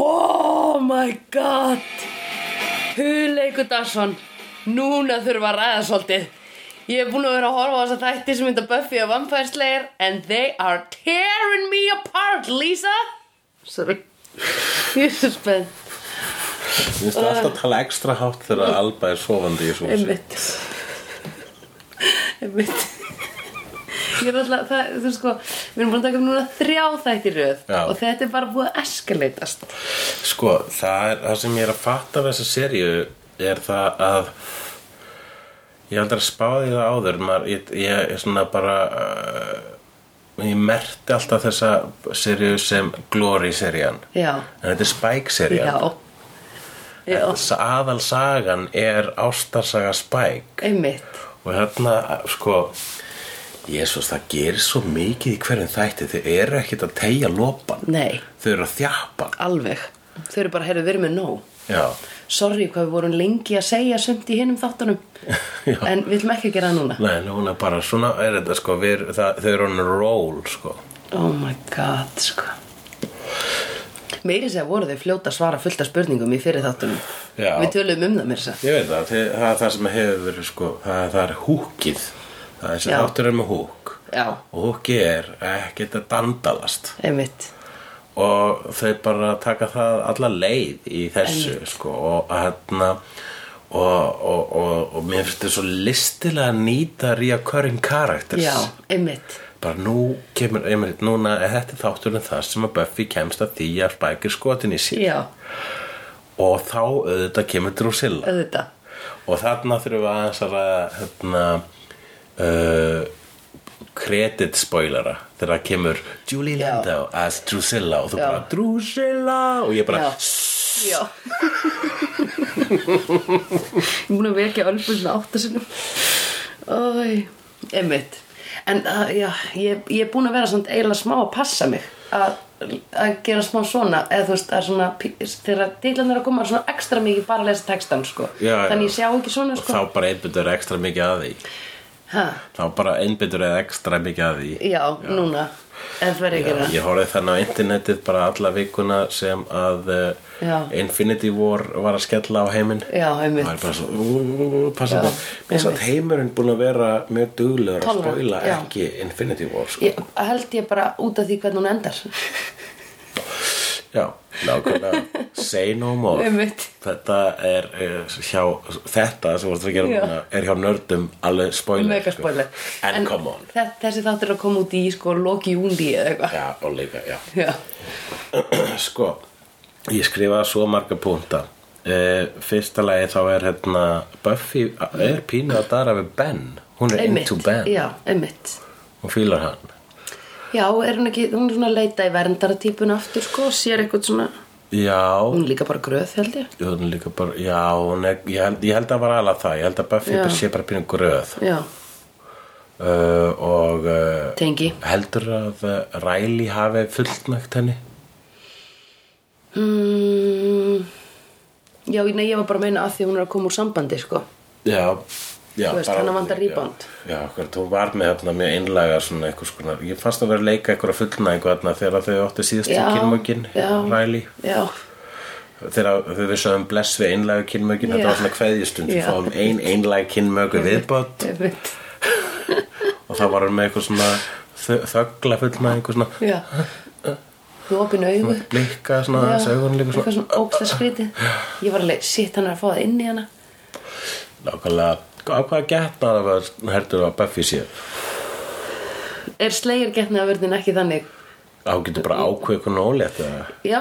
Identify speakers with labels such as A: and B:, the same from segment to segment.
A: Oh Garson, núna þurfa að ræða svolítið. Ég hef búin að vera að horfa á þessa þætti sem mynda Buffy og Vampire Slayer and they are tearing me apart, Lisa. Sorry. Ég er svo spennt.
B: Mér finnst það alltaf að tala ekstra hátt þegar Alba er sofandi í svona
A: Mm. Einmitt Einmitt Ég er alltaf, það, þú veist sko Við erum búin að taka upp núna þrjá þætti röð
B: Já.
A: Og þetta er bara búið að eskaleitast
B: Sko, það, er, það sem ég er að fatta af þessa seríu er það að ég aldrei spáði það áður maður, ég, ég er svona bara uh, ég merti alltaf þessa seríu sem Glory-serían
A: Já,
B: en þetta er Spike-serían
A: já Já,
B: aðalsagan er ástarsaga Spike
A: einmitt
B: og hérna sko Jésús, það gerir svo mikið í hverjum þætti þau eru ekkert að tegja lopan
A: Nei,
B: þau eru að þjappa
A: alveg Þau eru bara, heyrðu, við erum með nóg
B: já,
A: Sorry hvað við vorum lengi að segja sumt í hinum þáttunum
B: já.
A: En við viljum ekki gera það núna
B: Nei, núna bara svona er þetta sko við, það, þau eru on a roll sko
A: Oh my god, sko Meiri segja voru þau fljóta að svara fullt af spurningum í fyrir þáttunum
B: Já.
A: Við töluðum um það mér þess að
B: ég veit það, þið, það er það sem hefur verið sko það, það er húkið það er sem
A: Já.
B: þáttur er með húk
A: Já,
B: og húkið er ekkert að dandalast
A: einmitt
B: og þau bara taka það alla leið í þessu sko, og hérna og, og, og, og mér finnst þetta svo listilega að nýta reoccurring characters
A: Já, einmitt
B: bara nú kemur einmitt núna er þetta er þátturinn það sem að Buffy kemst að því að Spike er skotin í sér
A: Já,
B: og þá auðvitað kemur Drusilla
A: auðvitað
B: og þarna þurfum við aðeins að ræða hérna uh, credit spoilera þegar það kemur Julie
A: Já.
B: Landau as Drusilla og þú
A: Já.
B: bara Drusilla og ég bara
A: Já, já Ég er búin að vekja ölfurna áttasinum Æ, einmitt En uh, já, ég, ég er búin að vera svona eiginlega smá að passa mig að að gera smá svona eða þú veist að svona pí- þegar dillan er að koma svona ekstra mikið bara að lesa textan sko
B: Já, já.
A: þannig ég sjá ekki svona
B: og
A: sko
B: þá bara einbyttur ekstra mikið að því
A: ha,
B: þá bara einbyttur ekstra mikið að því
A: já, núna en það verið ekki
B: Já,
A: það
B: ég horfði þannig á internetið bara alla vikuna sem að uh,
A: Já.
B: Infinity War var að skella á heiminn
A: já,
B: það er
A: einmitt,
B: bara svo ú, ú, ú,
A: Já,
B: passa það mér svo að heimurinn búin að vera mjög duglegur að
A: Tolerant,
B: spoila
A: já.
B: ekki Infinity War sko.
A: ég, held ég bara út af því hvernig hún endar
B: já, nákvæmlega say no more
A: einmitt
B: þetta er uh, hjá þetta sem voru að gera
A: Já.
B: núna er hjá nördum alveg spoiler,
A: mega
B: sko.
A: spoiler
B: en, come on
A: þe- þessi þáttur er að koma út í sko loki júni eða eitthvað
B: já, og líka, já
A: já.
B: sko, ég skrifaði svo marga púnta uh, fyrsta lagi þá er hérna Buffy er pínu að dara við Ben hún er
A: einmitt
B: into Ben
A: já, einmitt
B: hún fílar hann
A: já, er hún ekki, hún er svona að leita í verndaratýpun aftur sko, sér eitthvað svona
B: já,
A: hún er líka bara gröð held ég
B: hún er líka bara já, hún er, ég, held, ég held að var alveg það ég held að Buffy
A: Já.
B: bara sé bara pínu gröð
A: já,
B: uh, og uh,
A: tengi
B: heldur að uh, Riley hafi fullnægt henni
A: mm, já, nei, ég var bara að meina að því að hún er að koma úr sambandi sko
B: já, já
A: Þú veist,
B: bara-
A: hana vantar rebound.
B: já, já, akkurat, hún var með þarna mjög einlaga svona eitthvað skona ég fannst að vera að leika eitthvað fullnæðingu þarna þegar þau áttu síðast
A: Já,
B: kynmökin
A: já.
B: Riley
A: já,
B: þegar þau við sögum bless við einlaga kynmökin
A: Já.
B: þetta var svona
A: Já.
B: kveðjustund
A: Mhm.
B: við fáum ein einlaga kynmöku viðbátt
A: einmitt
B: og þá var hann með eitthvað svona þö- þögla fullnæðingu svona
A: já þú opinu augu
B: blikka svona
A: Já,
B: þessu augun líka
A: eitthvað
B: svona
A: svona ógsta skrítið ég var alveg, shit, hann er að fá það inn í hana
B: nákvæmlega á hvað getna það var hertur að Buffy sé
A: Er slegir getnaðavörðin ekki þannig?
B: á getur bara ákveð eitthvað nólétt eða
A: Já,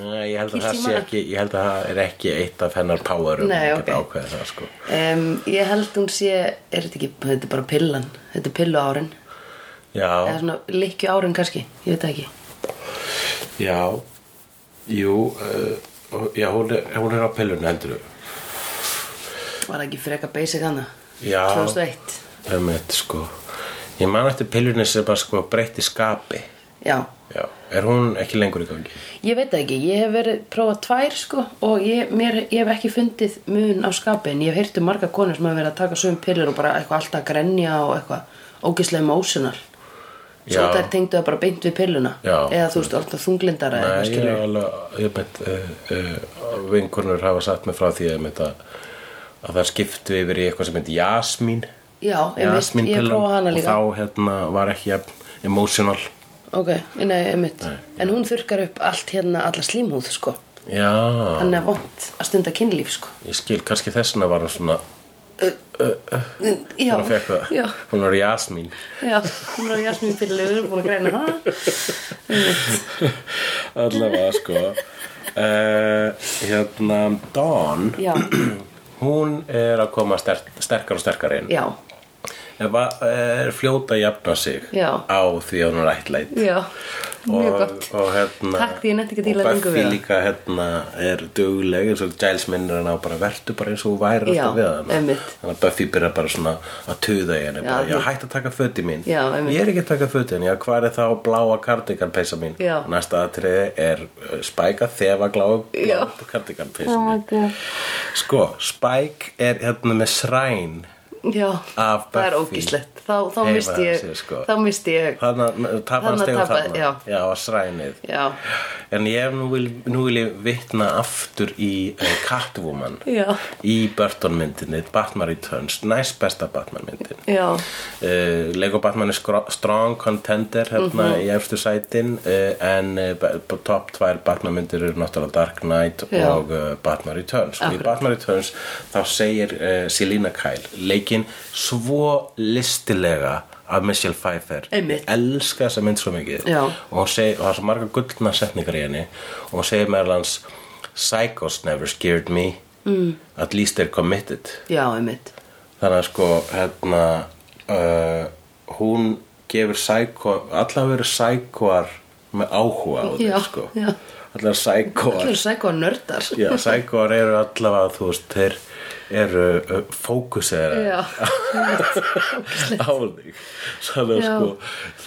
B: Nei, ég held að
A: Kýlt
B: það
A: í
B: sé
A: manna.
B: ekki ég held að það er ekki eitt af hennar powerum
A: Nei,
B: að geta
A: ok.
B: ákveða það sko
A: um, ég held hún sé, er þetta ekki, þetta er bara pillan, þetta er pillu árin, eða
B: já,
A: svona likju árin kannski, ég veit það ekki.
B: já jú uh, já, hún er, hún er á pillun heldur
A: Var það ekki freka basic hana?
B: Já.
A: 2001,
B: um eitt sko ég man eftir pillunni sem bara sko breytti skapi
A: já.
B: já, er hún ekki lengur í gangi
A: Ég veit það ekki, ég hef verið prófað tvær sko og ég, mér, ég hef ekki fundið mun á skapi en ég hef heyrt um marga konur sem hafa verið að taka sögum pillur og bara eitthvað alltaf að grenja og eitthvað ógislega emotional. Svo
B: Já.
A: það er tengdu það bara beint við pilluna
B: Já.
A: eða þú veist, alltaf þunglindara eða
B: Nei,
A: eitthvað
B: ég
A: skilur.
B: eh, er alveg ég mynd, uh, uh, vinkonur hafa sagt mig frá því að, mynd, að að það skiptu yfir í eitthvað sem heit Jasmín
A: Já, einmitt,
B: Jasmín
A: ég prófa hana
B: og
A: líka
B: þá hérna var ekki jafn emotional
A: Ok, nei, einmitt En hún þurkar upp allt hérna, alla slímhúð, sko
B: já,
A: Þannig að vont að stunda kynlíf, sko
B: ég skil kannski þess vegna var hún svona
A: Já,
B: hún fekk það,
A: já,
B: hún var Jasmín
A: já Hún var Jasmín Pillegur, við erum búin að greina það
B: allavega sko uh, hérna Dawn
A: Já,
B: hún er að koma sterk, sterkar og sterkar inn
A: já,
B: Ef að- eh, er fljóta að jafna sig
A: Já.
B: á því að hún er ættlæt
A: já Mjög
B: og,
A: gott
B: og hérna
A: Takk, því ég nennti ekki að díla
B: og
A: lengur við
B: Buffy
A: það.
B: líka hérna er dugleg eins og Giles minnir hann á bara vertu bara eins og hún væri
A: Já,
B: alltaf við hann
A: einmitt.
B: þannig að Buffy byrjar bara svona að tuða í henni
A: Já,
B: bara, já
A: einmitt.
B: hætt að taka föti mín
A: Já, einmitt.
B: ég er ekki að taka föti henni, já hvað er þá bláa kardiganpeisa mín
A: Já.
B: næsta atriði er uh, Spike að þefa gláa
A: Já.
B: kardiganpeisa
A: Oh
B: mín sko, Spike er hérna með sræn
A: Já,
B: Af
A: það er
B: Buffy.
A: ógíslegt Þá, þá
B: Heima
A: misti ég,
B: sér, sko.
A: þá misti ég
B: þannig að tapa hann
A: Þarna
B: stegum
A: tapaði-
B: þarna
A: já.
B: já, að srænið
A: Já,
B: En ég hef nú vil, nú vil ég vitna aftur í uh, Catwoman
A: Já.
B: í Burton myndinni, Batman Returns, næst besta Batman myndin.
A: já,
B: Uh, Lego Batman er skro- strong contender hérna
A: Mhm.
B: í efstu sætin uh, en uh, b- top 2 Batman myndir eru náttúrulega Dark Knight
A: Já.
B: og uh, Batman Returns og í
A: Akkurat.
B: Batman Returns þá segir uh, Selina Kyle leikinn svo listilega af Michelle Pfeiffer
A: Einmitt.
B: Ég elska þessa mynd svo mikið
A: Já.
B: og hún segir, og það er svo margar gullna setningar í henni og hún segir meðal hans Psychos never scared me mm. at least they're committed
A: já, einmitt
B: þannig að sko hérna uh, hún gefur psycho, allar verið psychoar með áhuga á
A: Já,
B: þetta sko
A: já.
B: allar psychoar
A: Það eru sækó nördar
B: Já, sækóar eru allavega, þú veist, þeir eru uh, fókusera
A: Já,
B: á þig. Þannig að
A: Já.
B: sko,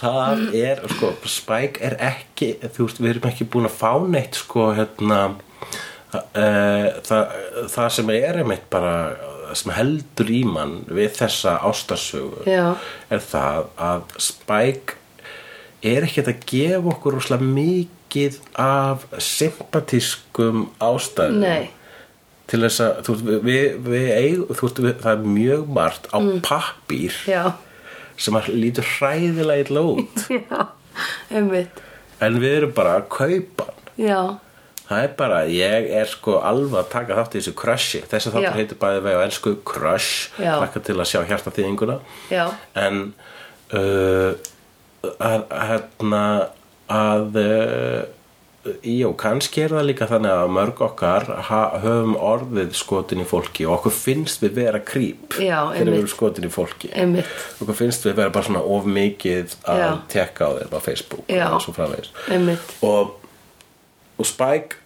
B: það er, sko, Spike er ekki, þú veist, við erum ekki búin að fá neitt, sko, hérna, uh, það, það sem er einmitt bara, sem heldur í mann við þessa ástarsögu
A: Já.
B: er það að Spike er ekkert að gefa okkur rosalega mikið af sympatískum ástæðum
A: Nei.
B: til þess að þú, veist, við, við eigum, þú, veist, við, það er mjög margt á mm. pappír
A: já,
B: sem að lítur hræðilega illa út
A: já, einmitt
B: en við erum bara að kaupa hann.
A: Já,
B: það er bara, ég er sko alveg að taka þátt í þessu crushi þessi
A: Já.
B: þáttur heitir bæði vegi á ensku crush
A: Já.
B: takka til að sjá hjarta þýðinguna
A: Já.
B: en uh, að, hérna að uh, Jó, kannski er það líka þannig að mörg okkar ha, höfum orðið skotin í fólki og okkur finnst við vera krýp
A: Já,
B: þegar við
A: einmitt.
B: erum skotin í fólki
A: einmitt,
B: okkur finnst við vera bara svona of mikið að
A: Já.
B: tekka á þeir á Facebook
A: Já.
B: og svo framvegis
A: einmitt
B: og, og Spike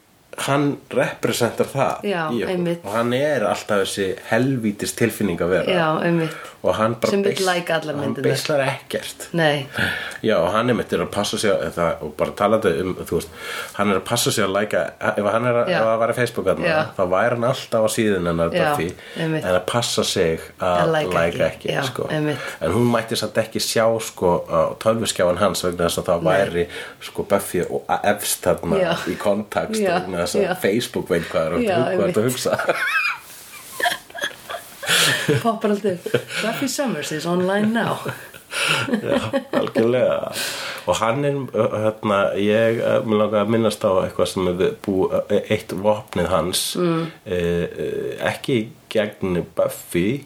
B: hann representar það
A: Já,
B: í okkur.
A: einmitt.
B: og hann er alltaf þessi helvítis tilfinning að vera
A: Já, einmitt
B: og hann bara
A: Sem vill
B: beisl-
A: læka allar
B: hann
A: myndirnar.
B: beislar ekkert
A: Nei,
B: Já, og hann er mitt er að passa sig að, það, og bara talandi um, þú veist hann er að passa sig að læka, ef hann er að,
A: Já.
B: ef að vera Facebook aðna,
A: Já.
B: þá væri hann alltaf á síðun hennar
A: Já,
B: Buffy,
A: einmitt.
B: en að passa sig
A: Að
B: að
A: læka
B: læka
A: ekki.
B: ekki,
A: Já,
B: sko.
A: einmitt.
B: en hún mætti samt ekki sjá, sko, tölviskjáin hans vegna þess að það væri, sko, Buffy og efst þarna
A: Já.
B: í kontakst
A: Já,
B: vegna þess að
A: já.
B: Facebook veit hvað er
A: Já,
B: að, hvað er
A: einmitt.
B: að hugsa
A: poppar alltaf upp. Buffy Summers is online now
B: Já, algjörlega og hann er uh, hérna, ég uh, mér langar að minnast á eitthvað sem er bú, uh, eitt vopnið hans mm. ekki gegn Buffy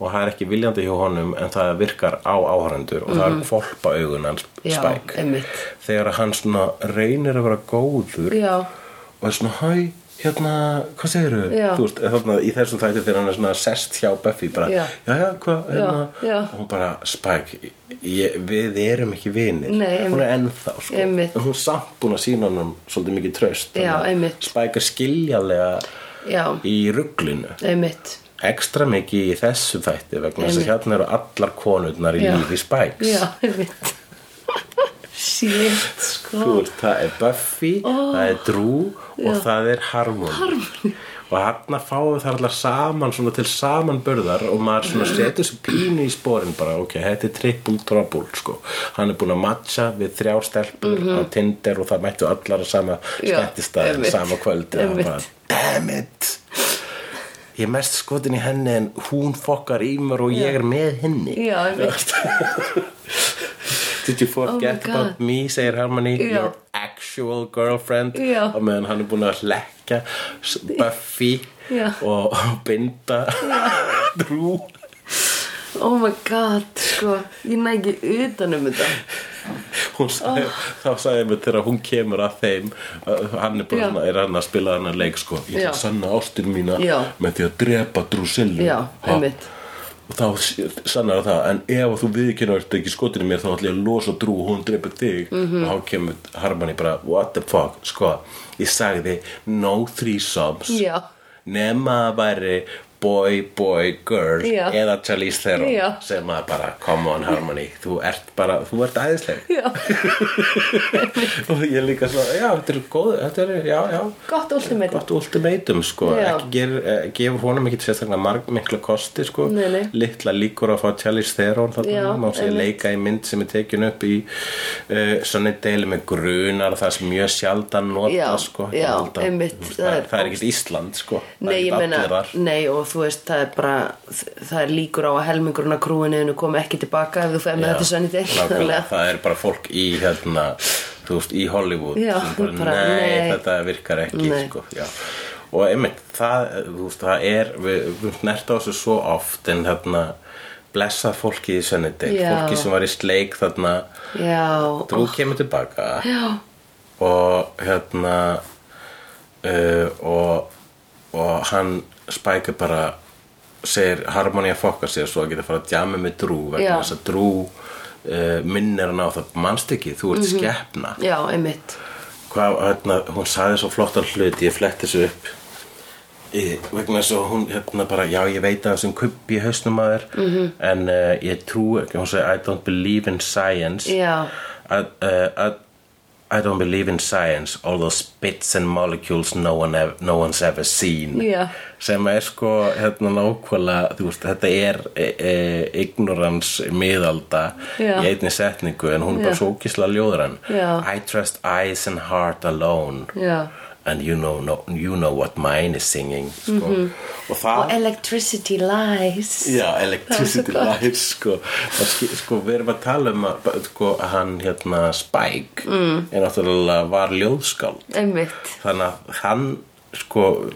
B: og það er ekki viljandi hjá honum en það virkar á áhærendur og það er kvolpa augun hans
A: Mhm. Já,
B: spæk
A: einmitt.
B: þegar hann svona reynir að vera góður
A: Já,
B: og er svona hæ hérna, hvað segirðu?
A: Já.
B: Þú veist, þarna, í þessum þætti þegar hann er svona sest hjá Buffy bara,
A: Já.
B: já, já, hvað, hérna
A: Já, já.
B: og hún bara, Spike ég, við erum ekki vinir
A: Nei,
B: hún er
A: einmitt.
B: ennþá, sko
A: Einmitt.
B: en hún er samt búin að sína hann svolítið mikið
A: Já,
B: tröst þannig að
A: einmitt.
B: Spike er skiljalega
A: já,
B: í rugglinu
A: einmitt
B: ekstra mikið í þessu þætti vegna þess að
A: Einmitt.
B: hérna eru allar konurnar í
A: Já.
B: lífi Spikes
A: Já, einmitt Shit, sko
B: Þú veist, það er Buffy, það er Drew og það er Harmony. Harmony. Og hann að fáum það allar saman, svona til samanburðar og maður svona setur sér pínu í sporin bara, ok, þetta er triple trouble, sko. Hann er búinn að matcha við þrjá stelpur á Tinder og það mættu allar að sama
A: Mhm. Já,
B: skemmtistæðin,
A: einmitt,
B: sama kvöldi.
A: einmitt.
B: Bara, Damn it! ég er mest skotin í henni en hún fokkar í mér og ég er með henni
A: Já, einmitt.
B: Did you
A: Oh my
B: forget
A: God.
B: about me, segir Harmony
A: Já.
B: Your actual girlfriend
A: Já.
B: og meðan hann er búin að leggja Buffy
A: Já.
B: og, og binda Drew
A: Oh my god, sko Ég nægi utan um þetta
B: Hún sagði,
A: Oh.
B: þá sagði mér þegar hún kemur að þeim að hann er bara
A: Já.
B: svona, er hann að spila hann að leik sko, ég ætla
A: Já.
B: að sanna ástin mína
A: Já.
B: með því að drepa Drusillu
A: Já, einmitt
B: og þá sannar það en ef þú viðkynnar þetta ekki skotinu mér þá ætla ég að losa drú og hún dreipur þig
A: Mhm.
B: og þá kemur Harmony bara what the fuck, sko ég sagði no threesomes
A: Já.
B: nema að væri boy, boy, girl
A: Já.
B: eða Charlize Theron
A: Já.
B: sem að bara come on Harmony, þú ert bara þú ert æðisleg
A: Já,
B: og ég líka svona, já, þetta er góð þetta er, já, já
A: gott ultimate
B: gott ultimatum sko
A: Já.
B: ekki ger, eh, gefur honum ekkit sérstaklega marg, mikla kosti sko
A: Nei, nei.
B: litla líkur á að fá Charlize Theron
A: Já,
B: þarna má sé
A: einmitt.
B: leika í mynd sem er tekin upp í uh, Sunnydale með grunar það sem mjög sjaldan nota
A: Já,
B: sko
A: já,
B: Ég held að-
A: einmitt,
B: þú veist,
A: það
B: það,
A: er
B: er- það er ekkit Ísland sko Það
A: Nei,
B: er
A: ég
B: ekkit
A: meina,
B: allir þar.
A: nei og þú veist það er bara, það er líkur á að helmingurinn að krúinniðinu kom ekki tilbaka ef þú fer með
B: Já,
A: þetta sönni til
B: nákvæmlega, það er bara fólk í hérna, þú veist, í Hollywood
A: Já,
B: sem bara,
A: bara,
B: nei,
A: nei.
B: þetta virkar ekki
A: Nei.
B: sko, já. og einmitt það, þú veist, það er við, við nert á þessu svo oft en þarna blessað fólki í Sunnydale
A: Já.
B: fólki sem var í sleik þarna
A: Já,
B: þú kemur tilbaka
A: já,
B: og hérna uh, og, og hann spækir bara segir harmoni að fokka sér svo að geta fara að djama með drú
A: Já.
B: vegna þess að drú uh, minnir hann á það manst ekki,
A: Mhm.
B: þú ert skepna
A: já, einmitt
B: hvað, hérna, hún sagði svo flottan hlut ég fletti þessu upp í, vegna þess að hún hérna bara já ég veit að þessum kubbi í hausnum að þér
A: Mhm.
B: -hmm. en uh, ég trú ekki hún sagði I don't believe in science
A: Já.
B: I, uh, I, I don't believe in science all those bits and molecules no, one ev no one's ever seen
A: Já.
B: sem er sko hérna nákvæmlega þú veist, þetta er e, e, ignorance miðalda
A: Já.
B: í einni setningu en hún er
A: Já.
B: bara svo ókísla ljóður hann
A: Já.
B: I trust eyes and heart alone
A: Já.
B: and you know, no, you know what mine is singing sko. og það
A: Mhm. Og electricity lies
B: Já, electricity lies sko. Það ski- sko, við erum að tala um að ba- sko, að hann hérna Spike mm. er náttúrulega var ljóðskáld
A: Einmitt,
B: þannig að hann sko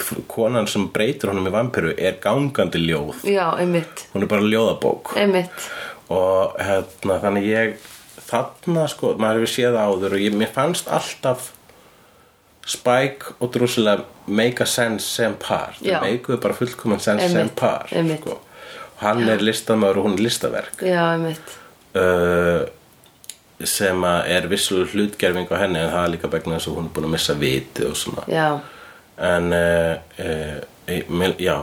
B: f- konan sem breytir honum í vampiru er gangandi ljóð
A: já, einmitt
B: hún er bara ljóðabók
A: Einmitt,
B: og hérna þannig ég þarna sko, maður hefur séð það áður og ég, mér fannst alltaf Spike og Drusilla make a sense sem par
A: Já.
B: þau meikuðu bara fullkominn sense sem
A: Einmitt,
B: par
A: einmitt.
B: sko. hann er listamöður og hún er listaverk
A: já, einmitt
B: uh, sem að er vissulega hlutgerfing á henni en það er líka begna þess að hún er búin að missa viti og svona
A: Já,
B: en uh, uh, mil, já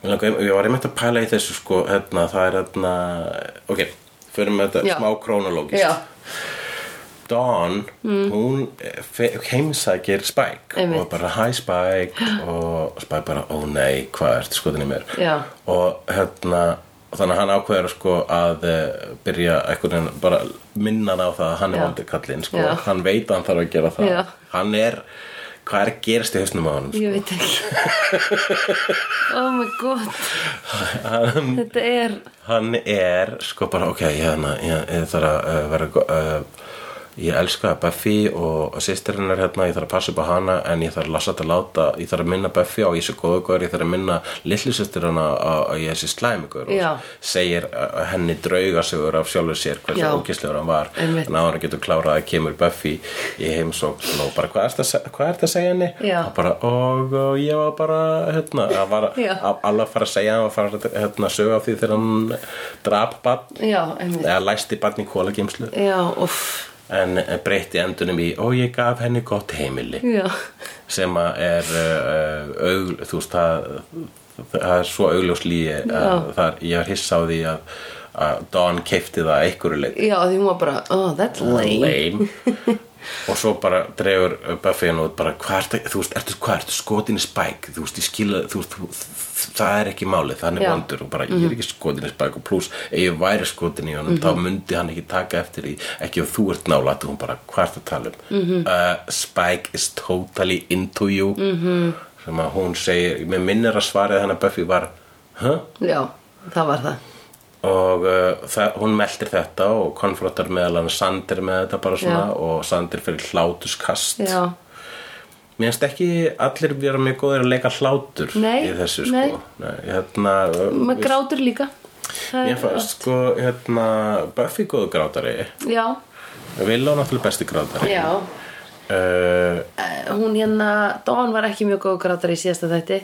B: Mig langar- ég var einmitt að pæla í þessu sko hérna, það er hérna ok, förum með þetta
A: Já.
B: smá krónológist
A: já, Mm.
B: Dawn, hún eh, fe- heimsækir Spike
A: Einmitt.
B: og bara hi Spike og Spike bara, ó nei, hvað ertu skotin í mér
A: Já.
B: og hérna og þannig að hann ákveður sko að eh, byrja einhvern veginn bara minna hann á það að hann
A: Já.
B: er vondur kallinn sko,
A: Já.
B: hann veit að hann þarf að gera það
A: Já.
B: hann er, hvað er að gerast í hausnum á hann
A: ég veit ekki Oh my god Þetta er
B: hann er sko bara ok, ég, hérna, ég, ég þarf að uh, vera go- uh, ég elska Buffy og sýstir hennar hérna, ég þarf að passa upp á hana en ég þarf að lasa þetta láta, ég þarf að minna Buffy á ég sé góðu góður, ég þarf að minna litlu sýstir hana á að ég sé slæmi góður
A: Já.
B: og segir uh, henni draugasögur af sjálfur sér
A: Já.
B: hversu ógislegur hann var
A: Einmitt.
B: en áður en getur klárað að kemur Buffy í heimsókn og bara hvað er þetta hvað ertu að segja henni?
A: Já.
B: Og bara, og, og ég var bara hérna, að var,
A: Já.
B: að alla fara að segja hann var að fara að hérna, sög á því þegar hann drap barn
A: Já, einmitt
B: eða læsti barn í kólageimslu
A: Já, uff
B: en eh, breytti endunum í og ég gaf henni gott heimili
A: Já,
B: sem að er uh, aug, þú veist það, það er svo augljós lígi að þar, ég var hissa á því að, að Don keifti það að einhverju leik
A: já, því hún var bara Oh, that's lame
B: lame og svo bara dregur Buffy hann út bara hvað ertu, þú veist, ertu, hvað ertu skotin í Spike þú veist, ég skila, þú veist, þú- þú- það er ekki málið, þannig
A: Já. Mhm.
B: vondur og bara ég er ekki skotin í Spike og pluss ef ég væri skotin í honum þá myndi hann ekki taka eftir því ekki ef þú ert nálætt
A: Mhm.
B: Uh,
A: Mhm.
B: og hún bara hvað ertu að tala um mm -hmm. Spike is totally into you mm -hmm. sem að hún segir, mér minnir að svarið hann að Buffy var huh?
A: já, það var það
B: og uh, það, hún meldir þetta og konfrontar meðal hann Sandir með þetta bara svona
A: Já.
B: og Sandir fyrir hlátuskast
A: já,
B: Mér finnst ekki allir vera mjög góðir að leika hlátur
A: Nei,
B: í þessu sko
A: nei.
B: Nei, hérna,
A: með
B: við-
A: grátur líka Það
B: Mér
A: er
B: fannst sko hérna, Buffy góðu grátari
A: gott. já,
B: Villó náttúrulega besti grátari
A: já
B: uh,
A: Eh, hún hérna, Dawn var ekki mjög góð grátar í síðasta þætti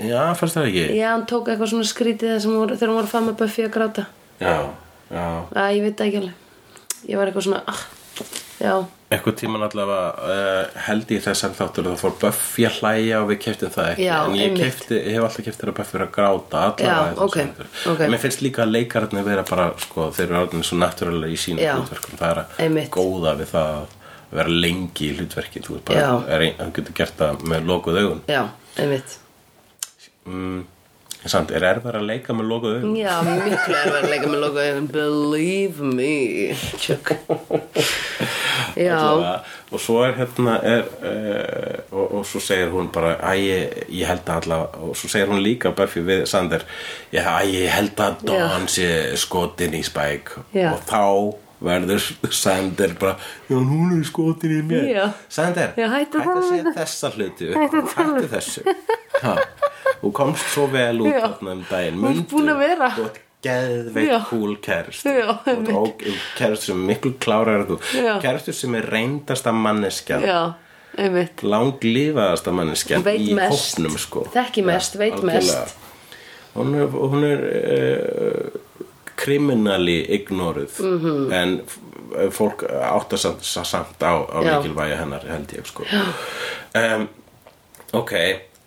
B: Já, fannst það ekki
A: já, hann tók eitthvað svona skrítið þar sem hún, þegar hún var að fara með Buffy að gráta
B: Já, já
A: að ég veit það ekki alveg ég var eitthvað svona ah, já,
B: Eitthvað tíman allavega uh, held ég þessan þáttur að það fór Buffy að hlæja og við keftum það ekki
A: Já,
B: en ég,
A: einmitt.
B: kefti, ég hef alltaf keftir að Buffy er að gráta allavega
A: Já,
B: í þessum
A: ok,
B: þáttur.
A: ok.
B: En Mér finnst líka að leikararnir vera bara sko, þeir eru orðin svo náttúrulega í sínum
A: Já,
B: hlutverkum það er að
A: einmitt.
B: góða við það að vera lengi í hlutverki þú veist bara,
A: Já.
B: er ein, hann getur gert það með lokuð augun
A: já, einmitt
B: mm, en Samt, er erfar að leika með lokuð augun?
A: já, miklu er verið að leika með loka augun believe me tjökk já,
B: Allavega. og svo er hérna er, uh, og, og svo segir hún bara æ, ég, ég held að allavega og svo segir hún líka Buffy við Sander "Já, æ, ég held að Dawn sé skotin í Spike
A: Já.
B: og þá verður Sander bara, já hún er skotin í mér
A: Já.
B: Sander,
A: Já, hættu
B: hættu að
A: að um
B: segja þessa hluti hættu, þessu ha. og komst svo vel út
A: Já.
B: þarna um daginn
A: Þú ert
B: Mundu,
A: búin að vera.
B: þú ert geðveikt
A: Já.
B: cool kærist
A: Já, einmitt.
B: og kærist sem er miklu klárar þú
A: Já.
B: kærastur sem er reyndasta manneskja
A: já, einmitt
B: langlifaðasta manneskja
A: Hún veit
B: í
A: mest.
B: hópnum sko
A: Þekki mest, veit
B: algjörlega.
A: mest.
B: hún er, hún er uh, kriminali ignoruð
A: Mhm.
B: -hmm. en f- fólk átta samt, samt á, á
A: Já.
B: mikilvægi hennar held ég sko um, ok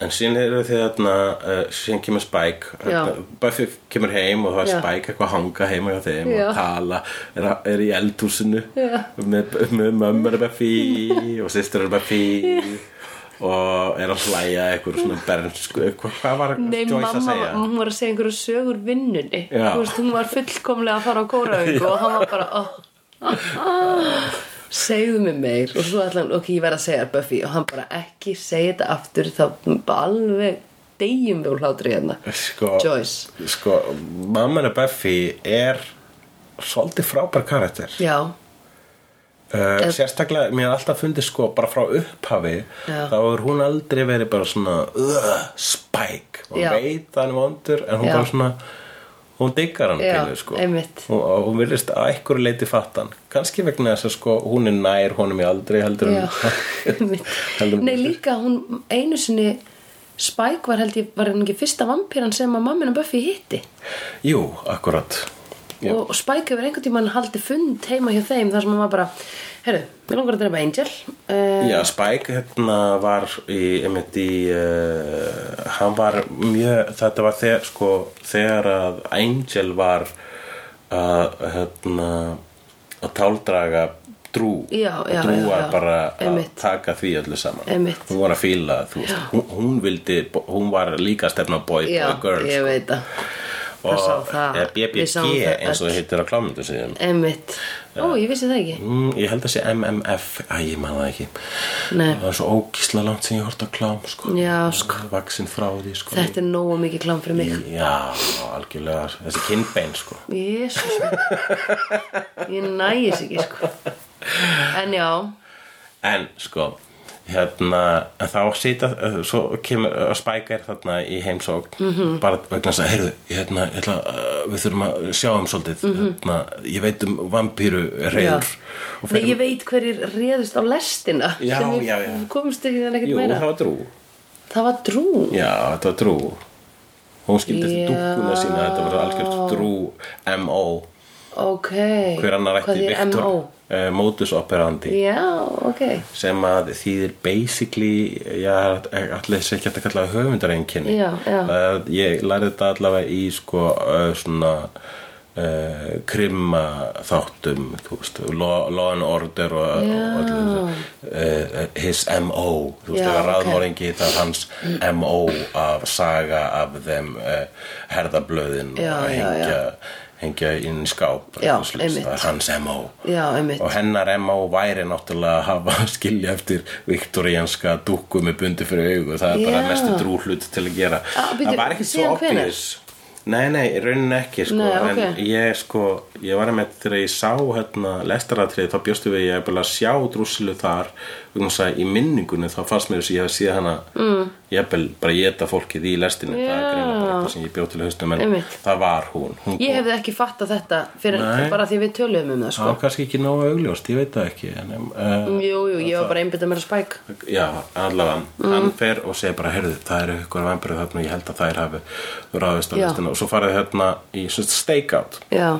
B: en síðan eru þið þarna uh, síðan kemur Spike
A: Já.
B: hérna, Buffy kemur heim og það er
A: Já.
B: Spike eitthvað að hanga heima hjá þeim
A: Já.
B: og tala er, er í eldhúsinu
A: Já.
B: með, með mömmur Buffy og systur Buffy og er að hlæja eitthvað svona bernsku eitthvað, hvað var
A: Nei,
B: Joyce
A: mamma,
B: að segja?
A: var- hún var að segja einhverju sögur vinnunni
B: Já.
A: Þú veist, hún var fullkomlega að fara á kóraðingu og hann var bara oh, oh, oh, segðu mér meir og svo ætla hann, ok, ég verð að segja þér, Buffy og hann bara ekki segja þetta aftur þá bara alveg deyjum við úr hlátri hérna
B: sko,
A: Joyce.
B: sko, mamman að Buffy er svolítið frábær karakter
A: Já,
B: Uh, sérstaklega, mér er alltaf fundið sko bara frá upphafi
A: Já.
B: þá er hún aldrei verið bara svona uh, spæk, hún
A: Já.
B: veit að hann er vondur en hún
A: Já.
B: bara svona hún diggar hann
A: Já,
B: pínu, sko.
A: einmitt.
B: og, og hún vilist að einhverju leiti fattan kannski vegna þess að sko hún er nær honum í aldrei heldur
A: já
B: en Heldur hún-
A: Nei, líka hún einu sinni Spike var held ég, var hann ekki fyrsta vampíran sem að mammina Buffy hitti
B: jú, akkurat Já.
A: og og Spike hefur einhvern tímann haldið fund heima hjá þeim þar sem hann var bara herru, mér langar að drepa Angel uh,
B: Já, Spike hérna var í, einmitt í uh, hann var mjög þetta var þegar, sko, þegar að Angel var að hérna að táldraga drú
A: Já,
B: og
A: já,
B: drú
A: já,
B: var
A: já,
B: bara að
A: einmitt.
B: taka því öllu saman
A: Einmitt.
B: hún var að fíla, þú veist hún, hún vildi, hún var líka að stefna á boy,
A: Já,
B: boy, girl sko.
A: ég veit að það sá
B: og eh,
A: það.
B: eða
A: Við sáum
B: BBG
A: það
B: eins og
A: öll.
B: það heitir á klámyndu síðan
A: Emmitt, ó ég vissi það ekki
B: Mm, ég held að sé MMF Æ, ég man það ekki
A: Nei.
B: Það er svo ógísla langt sem ég hort að klám sko.
A: Já, sko.
B: Vaksin frá því sko.
A: þetta er nógu mikið klám fyrir mig
B: Já, algjörlega Þessi kinnbein sko.
A: Jésus ég nægis ekki sko en já,
B: En sko hérna, en þá sita eh, svo kemur eh, Spike er þarna í heimsókn
A: Mhm.
B: -hmm. bara vegna þess að, heyrðu hérna, ég ætla, eh, við þurfum að sjá um svolítið hérna, ég veit um vampíru
A: Mhm. já.
B: reyður og um-
A: Nei,
B: fyrir
A: ég veit hverjir réðust á lestina
B: Já,
A: sem við
B: já, já.
A: komumst ekki þannig ekkert
B: Jú,
A: meira
B: það var drú
A: það var drú
B: Já, þetta var trú Hún skildi
A: Já.
B: eftir dúkkuna sína Þetta var algjört trú M.O.
A: ok,
B: Hver annar
A: Hvað
B: ætti
A: þýðir
B: Victor
A: MO?
B: uh, Modus operandi
A: já, ok
B: sem að þýðir basically já, allir þess ekki hægt að kalla það höfundareinkenni
A: Já, já.
B: uh, ég lærði þetta allavega í sko uh, svona uh, krimma þáttum þú veist, law, law and order og,
A: Já.
B: og allir þessu uh, his M.O. þú veist,
A: Já,
B: ef að
A: ok.
B: ráðmóringi það er hans M.O. af saga af þeim uh, herðablöðin
A: Já, já,
B: og hengja, hengja inn í skáp
A: Já,
B: eitthvað svoleiðis.
A: einmitt.
B: það er hans MO
A: Já, einmitt.
B: og hennar MO væri náttúrulega að hafa skilja eftir viktorianska dúkku með bundi fyrir augu það er bara
A: Já.
B: mestu drúhlut til að gera
A: Ah, býtu,
B: það var ekki svo
A: síðan hvenær?
B: obvious Nei, nei, í rauninni ekki sko,
A: Nei, ok.
B: en ég sko, ég var með þegar ég sá hérna lestaratrið þá bjóstu við að ég að sjá drúsilu þar um þess að í minningunni þá fannst mér þess að ég hef síða hana mm. ég bel bara geta fólkið í lestinu það er
A: Já.
B: greinlega bara eitthvað sem ég bjóð til haustum en
A: Einmitt.
B: það var hún, hún
A: Ég hefði ekki fattað þetta fyrir
B: Nei.
A: bara því við töluðum um það
B: það
A: sko.
B: var kannski ekki nógu augljóst, ég veit það ekki en, uh,
A: Jú, jú, ég var bara einbyttað mér að spæk
B: Já, allavega,
A: Mm.
B: hann fer og segir bara, heyrðu, það eru ykkur vambrið þarna og ég held að þær hafi ráðist á
A: Já.
B: listina og svo farið hérna í svona stakeout
A: Já,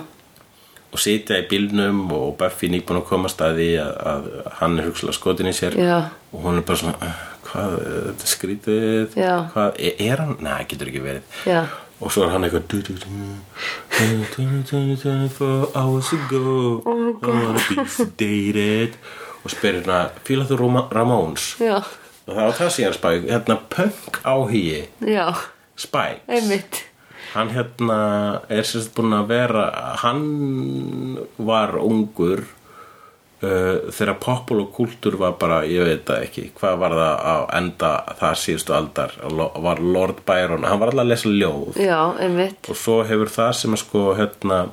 B: og sitja í bílnum og Buffy nýbúin að komast að því að, að hann er hugsalega skotin í sér
A: Já.
B: og hún er bara svona, "Eh, hvað, eh, þetta er skrítið,
A: Já.
B: hvað, er, er hann? Nei, getur ekki verið.
A: Já.
B: Og svo er hann eitthvað du, du, du, du, du, du, du, 24 hours ago oh I wanna be sedated og spyrir hérna, fílar þú Roma- Ramones?
A: já,
B: og það var það síðan Spike hérna punk áhugi
A: já,
B: Spike
A: einmitt
B: hann hérna er sérst búin að vera hann var ungur uh, þegar popul og kultúr var bara ég veit það ekki, hvað var það á enda það síðustu aldar Lo- var Lord Byron, hann var alltaf að lesa ljóð
A: Já, einmitt
B: og svo hefur það sem að sko hérna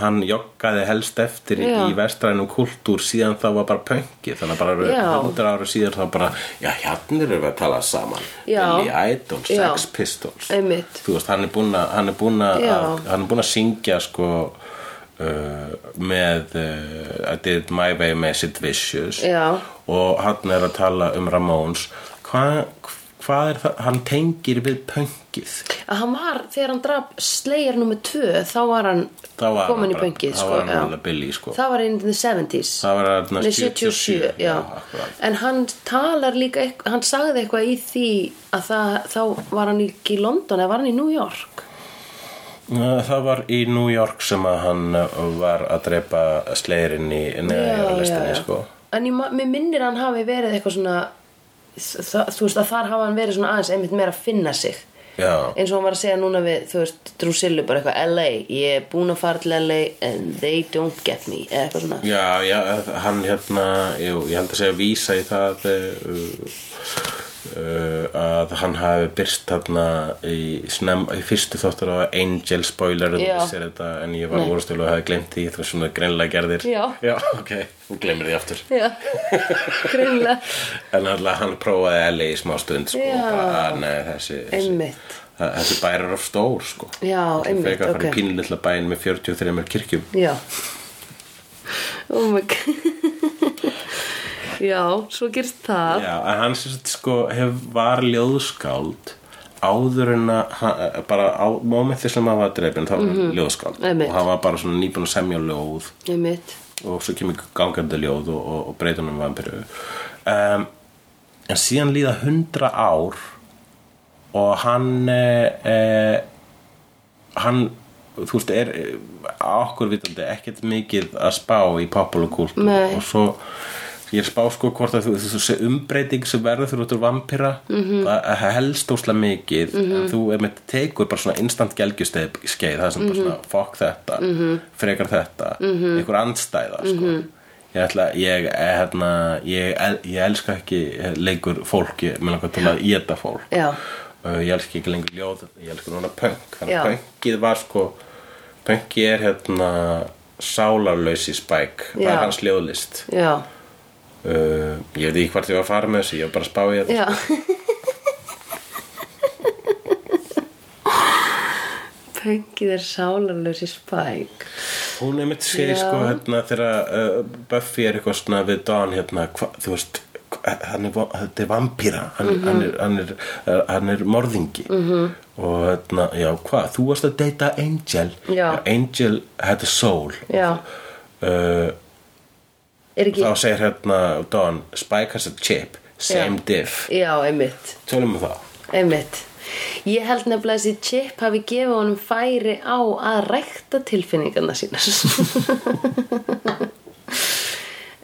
B: hann joggaði helst eftir
A: Já.
B: í vestrænum kultúr síðan þá var bara pönki þannig að bara
A: Já.
B: 100 ára síðan þá bara já, hérna erum við að tala saman
A: Já.
B: Billy Idol,
A: Já.
B: Sex Pistols
A: Einmitt.
B: þú veist, hann er búinn að hann er búinn að,
A: Já.
B: að- hann er búinn að syngja sko Uh, með uh, I did it my way með Sid Vicious
A: Já.
B: og hann er að tala um Ramones hvað hva er það hann tengir við pönkið
A: að hann var, þegar hann draf Slayer nr. 2, þá var hann
B: þá var
A: komin í
B: bara-
A: pönkið
B: þá
A: sko,
B: var hann
A: já.
B: alveg billi sko.
A: það var inn í the 70s
B: það var hann
A: Nei, 77, já,
B: akkurat.
A: En hann talar líka, eitth- hann sagði eitthvað í því að það, þá var hann ekki í London eða var hann í New York
B: Ná, það var í New York sem að hann uh, var að drepa slegirinn í neðarlistinni sko.
A: En ég, ma- mér minnir að hann hafi verið eitthvað svona það, þú veist að þar hafa hann verið svona aðeins einmitt meira að finna sig
B: já,
A: eins og hann var að segja núna við, þú veist, Drusillu bara eitthvað LA, ég er búin að fara til LA and they don't get me, eða eitthvað svona
B: já, já hann hérna jú, ég held að segja vísa í það uh, uh, að hann hafi byrst þarna í, snem, í fyrstu þáttur á Angel spoiler en,
A: Já.
B: þetta, en ég var vorustilu og hafi glemt því það var svona greinlega gerðir
A: Já.
B: já ok, þú glemir því aftur
A: Já, greinlega
B: En alltaf hann prófaði Ellie í smá stund sko,
A: Já.
B: bara, að, nei, þessi, þessi,
A: Einmitt,
B: þa- þessi bæri er of stór sko.
A: Já, einmitt,
B: Fekar að fara
A: ok.
B: í pínlilla bæin með 43 kirkjum
A: já Oh my god Já, svo gerst það
B: Já, en hann sem sagt sko hef, var ljóðskáld áður en að hann- bara á momenti sem hann var dreipin þá var hann ljóðskáld
A: Mhm. Einmitt.
B: og hann var bara svona nýbúin að semja ljóð
A: Einmitt,
B: og svo kemur gangandi ljóð og, og, og breytum um vampiru um, en síðan líða hundra ár og hann e, e, hann þú veist er eh, á okkur vitandi ekkert mikið að spá í populakult
A: Nei.
B: og svo ég er að spá sko hvort að þú- þessi umbreyting sem verður þú út úr vampira mm
A: Mhm.
B: -hmm. það helst óslega mikið en þú er með tegur bara svona instant gelgjusteig skeið, það sem
A: Mhm.
B: bara svona fokk þetta, frekar þetta -hmm. einhver andstæða sko.
A: Mhm.
B: ég ætla, ég, eh, hérna ég, el- ég elska ekki eh, lengur fólk, ég meðlega hvað til að éta fólk
A: Já.
B: Uh, ég elska ekki lengur ljóð ég elska núna punk, þannig
A: Já.
B: að punkið var sko punkið er hérna sálarlösi spæk það
A: Já.
B: er hans ljóðlist
A: já,
B: uh, ég veit ekki hvort ég var að fara með þessu ég var bara að spá í þetta
A: já Pöngið er sálarlösi spæk
B: hún er mitt segir
A: Já.
B: sko hérna þegar uh, Buffy er eitthvað svona við Dawn hérna, hva, þú veist hva- hann er, va- þetta er vampíra hann,
A: Mhm.
B: hann, er, hann, er, eh, hann er morðingi -hmm. og hérna, já hvað þú varst að deyta Angel
A: Já.
B: Angel had a soul
A: Já,
B: uh,
A: er ekki
B: þá segir hérna Dawn, Spike has a chip same
A: Já.
B: diff,
A: Já, einmitt
B: tölum við það
A: Einmitt. Ég held nefnilega að þessi chip hafi gefið honum færi á að rækta tilfinningarna sínar.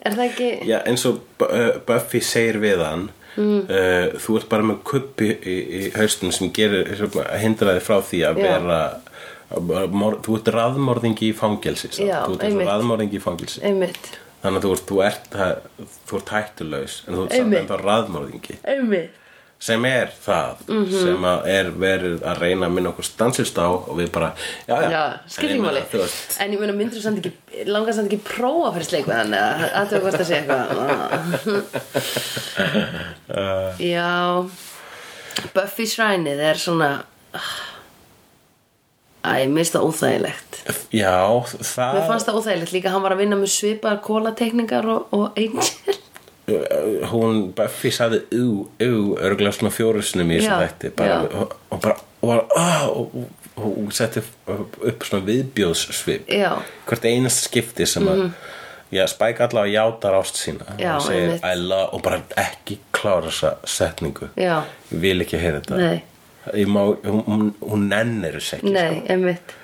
A: er það ekki...
B: Já, eins og Bu- uh, Buffy segir við hann
A: Mm.
B: uh, þú ert bara með kuppi í, í haustum sem gerir sem hindra þig frá því að
A: Já.
B: vera mor, þú ert raðmorðingi í fangelsi samt.
A: Já,
B: þú ert
A: einmitt.
B: eins og raðmorðingi í fangelsi
A: einmitt
B: þannig að þú ert, þú ert, það, þú ert hættulaus en þú ert samt
A: Einmitt.
B: ennþá raðmorðingi
A: einmitt
B: sem er það
A: Mhm.
B: sem að er verið að reyna að minna okkur stansist á og við bara, já, já,
A: Já,
B: En ég
A: skiltímáli
B: meina, þú veist,
A: En ég meina myndir þú samt ekki langar samt ekki prófa fyrir sleik við hann eða að þú hvort að segja eitthvað Já Buffy shrænið er svona ah, Æ, mér finnst það óþægilegt
B: já,
A: Mér
B: það
A: fannst það óþægilegt líka hann var að vinna með svipaðar kólatekningar og, og Angel
B: hún Buffy sagði ú, ú, örgulega svona fjórusunum í þessu
A: Já,
B: þætti bara,
A: já.
B: og, og bara og, var, "Ah", og, og, og, og setti upp svona viðbjóðssvip
A: Já. Mhm.
B: hvert einast skipti sem að já, Spike allavega játar ást sína
A: Já,
B: og segir
A: einmitt.
B: I love og bara ekki klára þessa setningu
A: Já.
B: ég vil ekki heyra þetta
A: Nei.
B: Ég má, hún, hún- hún nennir þess ekki sko.
A: Nei, einmitt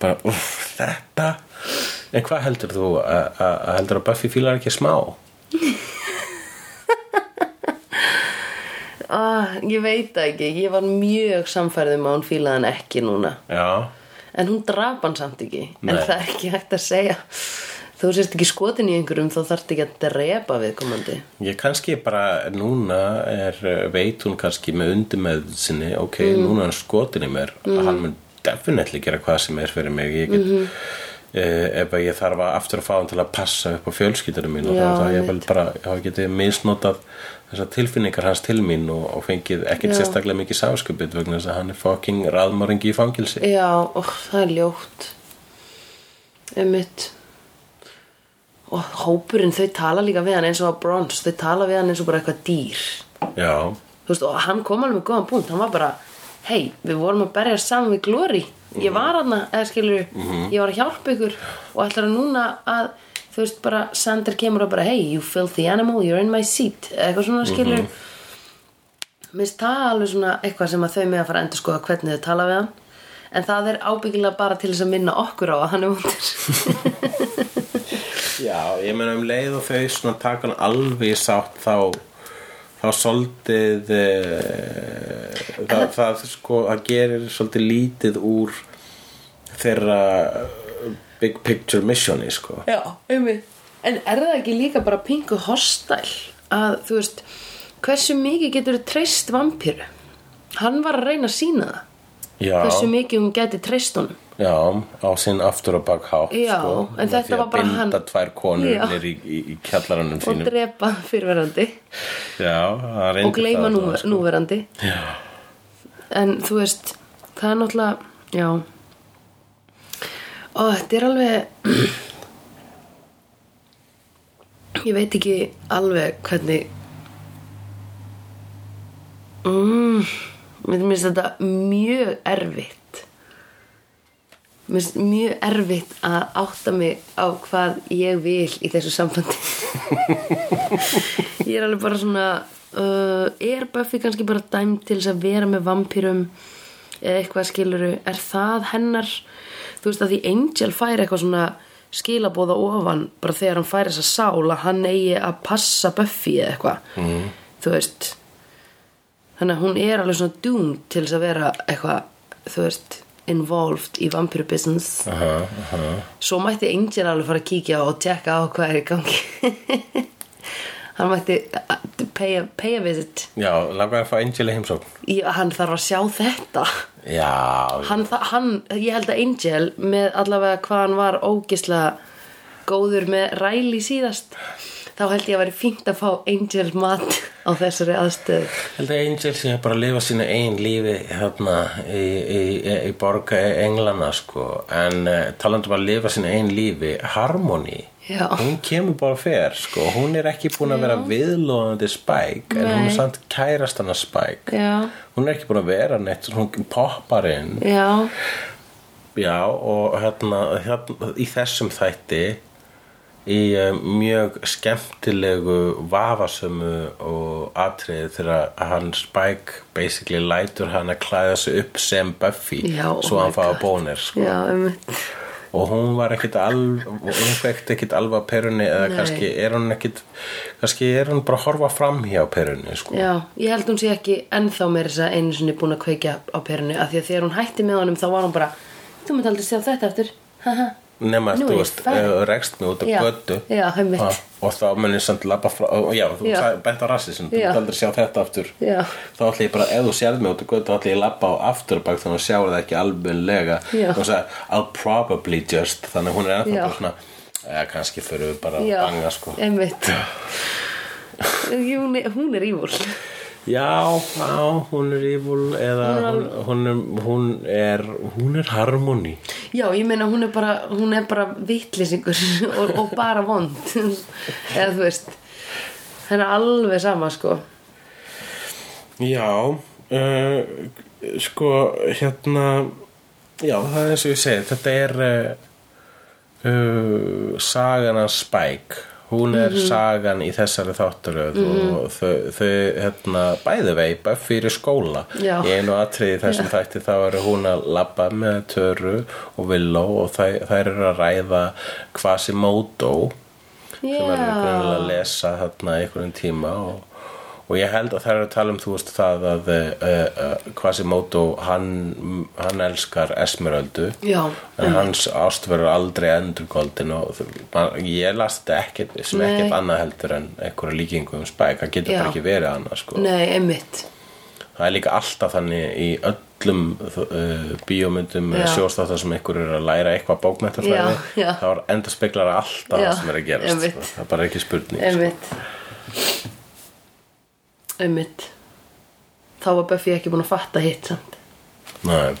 B: bara uff, þetta en hvað heldur þú að að- heldur að Buffy fílar ekki smá
A: ah, Ég veit það ekki, ég var mjög samfærðum að hún fílaði hann ekki núna
B: já
A: En hún draf hann samt ekki En
B: Nei.
A: það er ekki hægt að segja Þú sérst ekki skotin í einhverjum Þá þarft ekki að drepa viðkomandi
B: Ég kannski bara núna er, eh, veit hún kannski með undirmeð sinni, ok,
A: Mm.
B: núna er hann skotin í mér að hann mun definitely gera hvað sem er fyrir mig ég get,
A: Mhm.
B: mm ef að ég þarf að aftur að fá hann til að passa upp á fjölskyldunum mín og
A: Já,
B: það er ég
A: einmitt.
B: bara, hafa getið misnotað þessar tilfinningar hans til mín og, og fengið ekkert
A: Já.
B: sérstaklega mikið sáskupið vegna þess að hann er fucking raðmóringi í fangilsi
A: Já, ó, það er ljótt Emmitt Og hópurinn, þau tala líka við hann eins og að brons Þau tala við hann eins og bara eitthvað dýr
B: Já,
A: Þú veist, og hann kom alveg með góðan punkt Hann var bara, hei, við vorum að berja saman við Glory Ég var hann, eða skilur Ég var að hjálpa ykkur Og ætlar að núna að, þú veist, bara Sander kemur og bara, hey, you filthy animal You're in my seat, eða eitthvað svona skilur mm -hmm. Mér finnst það alveg svona Eitthvað sem að þau með að fara að endur skoða Hvernig þau tala við hann En það er ábyggilega bara til þess að minna okkur á að hann er vondur
B: Já, ég meina um leið og þau svona taka hann alveg í sátt þá þá svolítið e, það, það sko það gerir svolítið lítið úr þeirra eh, big picture missioni sko
A: Já, einmitt En er það ekki líka bara pingu hostæl að þú veist hversu mikið getur treyst vampíru Hann var að reyna að sína það
B: Já,
A: hversu mikið hún geti treyst honum
B: já á sinn aftur og bak hátt
A: Já,
B: sko,
A: en
B: með
A: þetta
B: því að
A: var bara
B: binda
A: hann-
B: tvær konur
A: Já.
B: niður í, í, í kjallaranum
A: og
B: sínum
A: drepa fyrirverandi
B: Já, það reyndi
A: og gleyma
B: það
A: núver,
B: allavega, sko.
A: núverandi
B: Já,
A: en þú veist, það er náttúrulega já og þetta er alveg ég veit ekki alveg hvernig mm, mér finnst þetta mjög erfitt mér finnst mjög erfitt að átta mig á hvað ég vil í þessu sambandi ég er alveg bara svona uh, er Buffy kannski bara dæmd til þess að vera með vampýrum eða eitthvað skiluru, er það hennar þú veist að því Angel fær eitthvað svona skilabóða ofan bara þegar hann fær þessa sál að hann eigi að passa Buffy eða eitthvað mm. þú veist þannig að hún er alveg svona doomed til þess að vera eitthvað, þú veist involved í vampýru business
B: aha, aha
A: Svo mætti Angel alveg fara að kíkja og tjekka á hvað er í gangi. hann mætti uh, pay a, pay a visit.
B: Já, langar að fá Angel í heimsókn
A: Í, hann þarf að sjá þetta.
B: Já,
A: Hann, þa- hann, ég held að Angel með allavega hvað hann var ógislega góður með Riley síðast. Þá held ég að væri fínt að fá Angel mat á þessari aðstöðu.
B: held að Angel sem er bara að lifa sínu einn lífi hérna í, í, í, í borga englana sko en uh, talandi um að lifa sínu einn lífi Harmony
A: Já.
B: hún kemur bara fer sko hún er ekki búin að vera viðlóðandi Spike en hún
A: Nei.
B: er samt kærast hann að Spike
A: Já,
B: hún er ekki búin að vera neitt hún poppar inn
A: já,
B: Já, og hérna, hérna í þessum þætti í eh, mjög skemmtilegu vafasömu og atriði þegar að hann Spike basically lætur hann að klæða sig upp sem Buffy
A: Já, oh
B: svo
A: my
B: hann fá
A: God.
B: að bónir sko.
A: já, um,
B: og hún var ekkit alv hún fekkt ekkit alveg að perunni eða
A: Nei.
B: kannski er hún ekkit kannski er hún bara að horfa fram hjá perunni sko.
A: já, ég held hún sé ekki ennþá meira þess að einu sinni búin að kveikja á perinu af því að þegar hún hætti með honum þá var hún bara þú mynd aldrei sjá þetta eftir Haha.
B: nema
A: Nú
B: þú
A: er ég
B: veist,
A: farin.
B: ef þú rekst mig út á
A: Já,
B: götu
A: já, einmitt.
B: ha, og þá mun ég samt labba frá og já, þú
A: Já.
B: sagði- bent á rassism, þú
A: Já.
B: ert aldrei að sjá þetta aftur
A: Já.
B: þá ætla ég bara, ef þú sérð mig út á götu þá ætla ég að labba á afturbak þannig að sjá það ekki alveglega
A: Já.
B: og sagði, I'll probably just þannig að hún er ennþá
A: Já.
B: bara svona eða kannski fyrir við bara að
A: já,
B: banga sko
A: einmitt hún, er- hún er ívul
B: Já, já, hún er evil eða hún, hún, er, hún er hún er harmoni
A: já, ég meina hún er bara, hún er bara vitlýsingur og, og bara vond eða þú veist henni er alveg sama sko
B: Já, uh, sko, hérna, já, það er eins og ég segi, þetta er uh, uh, sagan af Spike, hún er
A: Mhm.
B: sagan í þessari þátturöð og þau, þau, hérna, bæði veipa fyrir skóla.
A: Já.
B: Í einu atriði í þessum þætti þá er hún að labba með Töru og Villó og þær, þær eru að ræða Quasimodo sem er greinilega að lesa þarna í einhverjum tíma og, og ég held að það er að tala um þú veist það að uh, uh, Quasimodo hann, hann elskar Esmeraldu
A: Já,
B: en hans ást verður aldrei endurgoldin og þú- ma- ég las þetta ekkert sem
A: Nei.
B: ekkert annað heldur en einhverja líkingu um spæk, það getur
A: Já.
B: bara ekki verið annað sko.
A: nei, einmitt
B: það er líka alltaf þannig í öllum uh, bíómyndum
A: Já.
B: eða sjóstáttar sem einhver er að læra eitthvað bókmættafræði
A: Já, já.
B: þá er endur speklar alltaf
A: Já,
B: það sem er að gerast
A: einmitt.
B: sko. það er bara ekki spurning sko.
A: einmitt einmitt þá var Buffy ekki búin að fatta hitt samt
B: Nei.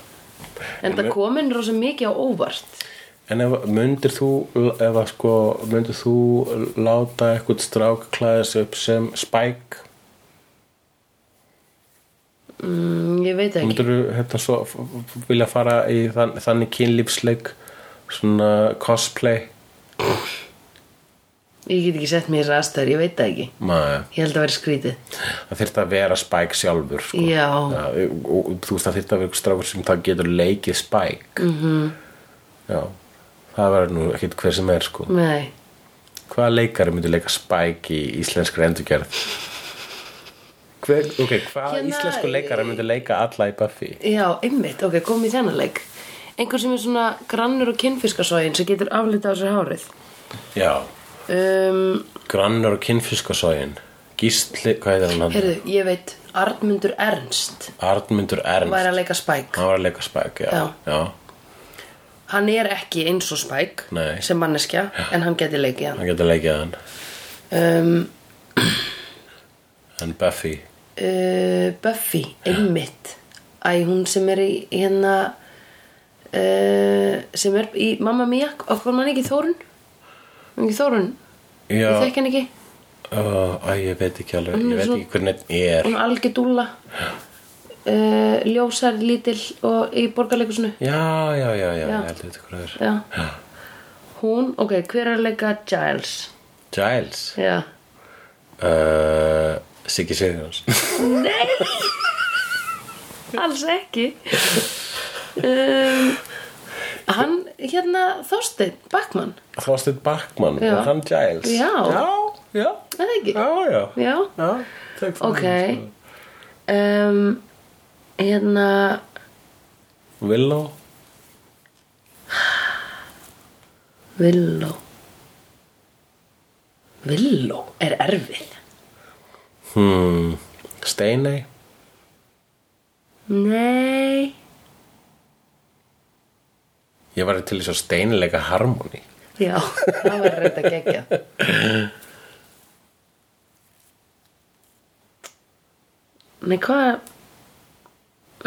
A: en það komin rosa mikið á óvart
B: En ef, myndir þú ef að sko, myndir þú láta eitthvað strák klæða sig upp sem spæk
A: mm, ég veit ekki
B: myndir þú hérna svo f- f- vilja fara í þann, þannig kynlífsleik svona cosplay
A: ég get ekki sett mér þessar aðstæður, ég veit það ekki
B: Nei,
A: ég held að vera skrítið
B: það þyrfti að vera spæk sjálfur sko.
A: já,
B: Já, og, og þú veist það þyrfti að vera einhver strákur sem það getur leikið spæk mm
A: Mhm.
B: -hmm. já, það verður nú ekkit hver sem er sko
A: nei
B: hvaða leikari myndi leika spæk í íslenskri endurgerð hver, ok, hvaða
A: Hérna,
B: íslensku leikari myndi leika alla í Buffy
A: já, einmitt, ok, komum í þennan leik einhver sem er svona grannur og kinnfiskasógin sem getur aflitað á sér hárið
B: já,
A: um,
B: grannar og kynfiskasógin gísli, hvað er hann hann
A: heyrðu, ég veit Arnmundur Ernst
B: Arnmundur Ernst,
A: væri að leika Spike
B: hann var að leika spæk já,
A: Já.
B: já,
A: hann er ekki eins og Spike
B: Nei.
A: sem manneskja, en hann geti leikið hann
B: hann getur leikið hann
A: um,
B: en Buffy,
A: uh, Buffy, einmitt Æ, hún sem er í hérna uh, sem er í Mamma Mia okkur mann ekki Þórun Hún ekki Þórun,
B: já
A: ég þekki hann ekki
B: Ó, æ, ég veit ekki alveg, ég veit ekki hvernig er
A: hún er algjör dúlla uh, ljósar, lítill og í borgarleikusinu
B: Já, já, já, já,
A: Já.
B: ég held að þetta hvað það er
A: já. hún, ok, hver er að leika Giles
B: Giles
A: já,
B: uh, Siggi Sigurjóns
A: alls ekki um, hann, hérna Þorsteinn, Backman
B: Þorstein Backman,
A: Já.
B: er hann Giles
A: Já.
B: Já, já,
A: er það ekki?
B: já, já,
A: já,
B: já takk fyrir
A: ok
B: það.
A: um, hérna
B: Willow
A: Villó Villó er erfið
B: hmm. Steiney
A: nei
B: Ég var til þess að steinleika harmoni
A: Já, það var reynda gegja Nei, hvað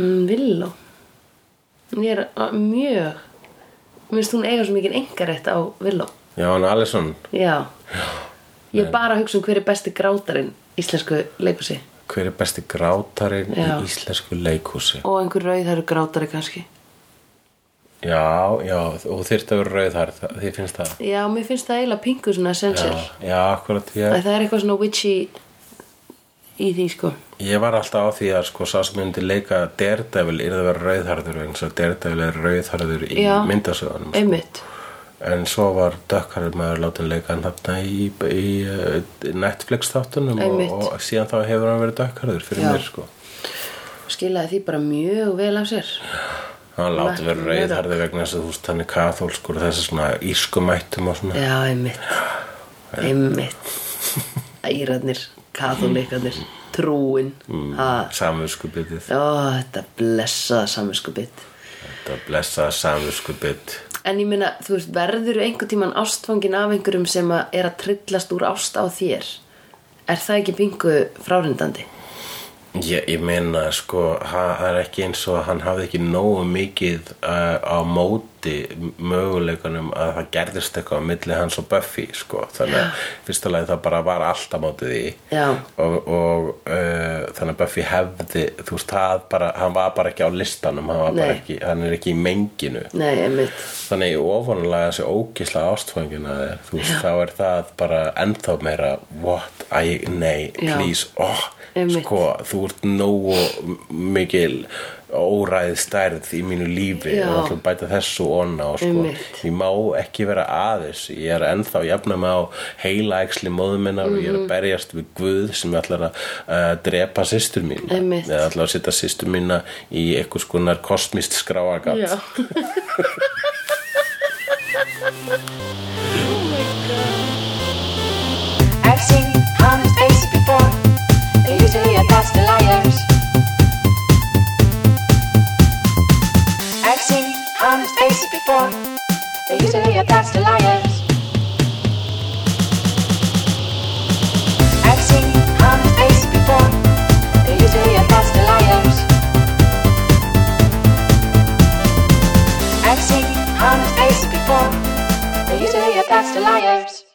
A: mm, Villó Ég er uh, mjög Mér finnst hún eiga svo mikið engarétt á Villó
B: Já, hann Allison,
A: Já Ég er bara að hugsa um hver er besti grátarinn íslensku leikusi
B: hver er besti grátarinn
A: Já.
B: í íslensku leikhúsi
A: og einhver rauðhæru grátari kannski
B: Já, já, og þyrfti að vera rauðhærð, það- þið finnst það
A: Já, mér finnst það eiginlega pingu svona essential
B: Já, já, akkurat, ég
A: Æ, Það er eitthvað svona witchy í því sko
B: Ég var alltaf á því að sko sá sem myndi leika Daredevil yrði að vera rauðharður eins og Daredevil er rauðharður í
A: Já.
B: myndasöðunum
A: Einmitt
B: en svo var dökkarður maður látið leika hann þarna í, í, í Netflix þáttunum
A: Einmitt.
B: og, og síðan þá sko. hefur hann verið dökkarður fyrir
A: Já.
B: mér sko
A: skilaði því bara mjög vel af sér
B: hann láti vera
A: Læknir-
B: reyðharði vegna þess að þú veist hann er kathólskur og þessi svona ískumættum og svona
A: Já, einmitt Einmitt Írarnir, kathólikarnir Trúin ha.
B: samvinskubitið
A: Ó, þetta blessaða samvinskubit
B: þetta blessaða samvinskubit
A: En ég meina, þú veist, verður einhvern tímann ástfangin af einhverjum sem að er að trillast úr ást á þér Er það ekki bingu frárindandi?
B: Ég, ég meina sko, ha- það er ekki eins og að hann hafði ekki nógu mikið uh, á móti möguleikunum að það gerðist eitthvað á milli hans og Buffy sko. þannig að fyrsta lagi það bara var allt á móti því
A: Já.
B: og, og uh, þannig að Buffy hefði þú veist, það bara, hann var bara ekki á listanum hann, var bara
A: Nei.
B: ekki, hann er ekki í menginu
A: Nei, einmitt
B: þannig í ofanlega þessi ógisla ástfangin að þér, þú veist, þá er það bara ennþá meira, what, æ, nei
A: Já.
B: please, oh,
A: Einmitt.
B: sko þú ert nógu mikil óræð stærð í mínu lífi
A: Já.
B: og ætlum að bæta þessu onna og sko,
A: Einmitt.
B: ég má ekki vera aðeins ég er ennþá að jafna mig á heilaæxli móðuminnar og ég
A: Mhm.
B: er að berjast við Guð sem ætlar að uh, drepa systur mín
A: Einmitt.
B: eða ætlar að setja systur mína í eitthvað skonar kosmist skráagat
A: Já
C: I've seen honest faces before. They're usually a pass to liars. I've seen honest faces before. They're usually a pass to liars. I've seen honest faces before. They're usually a pass to liars. I've seen honest faces before. They're usually a pass to liars.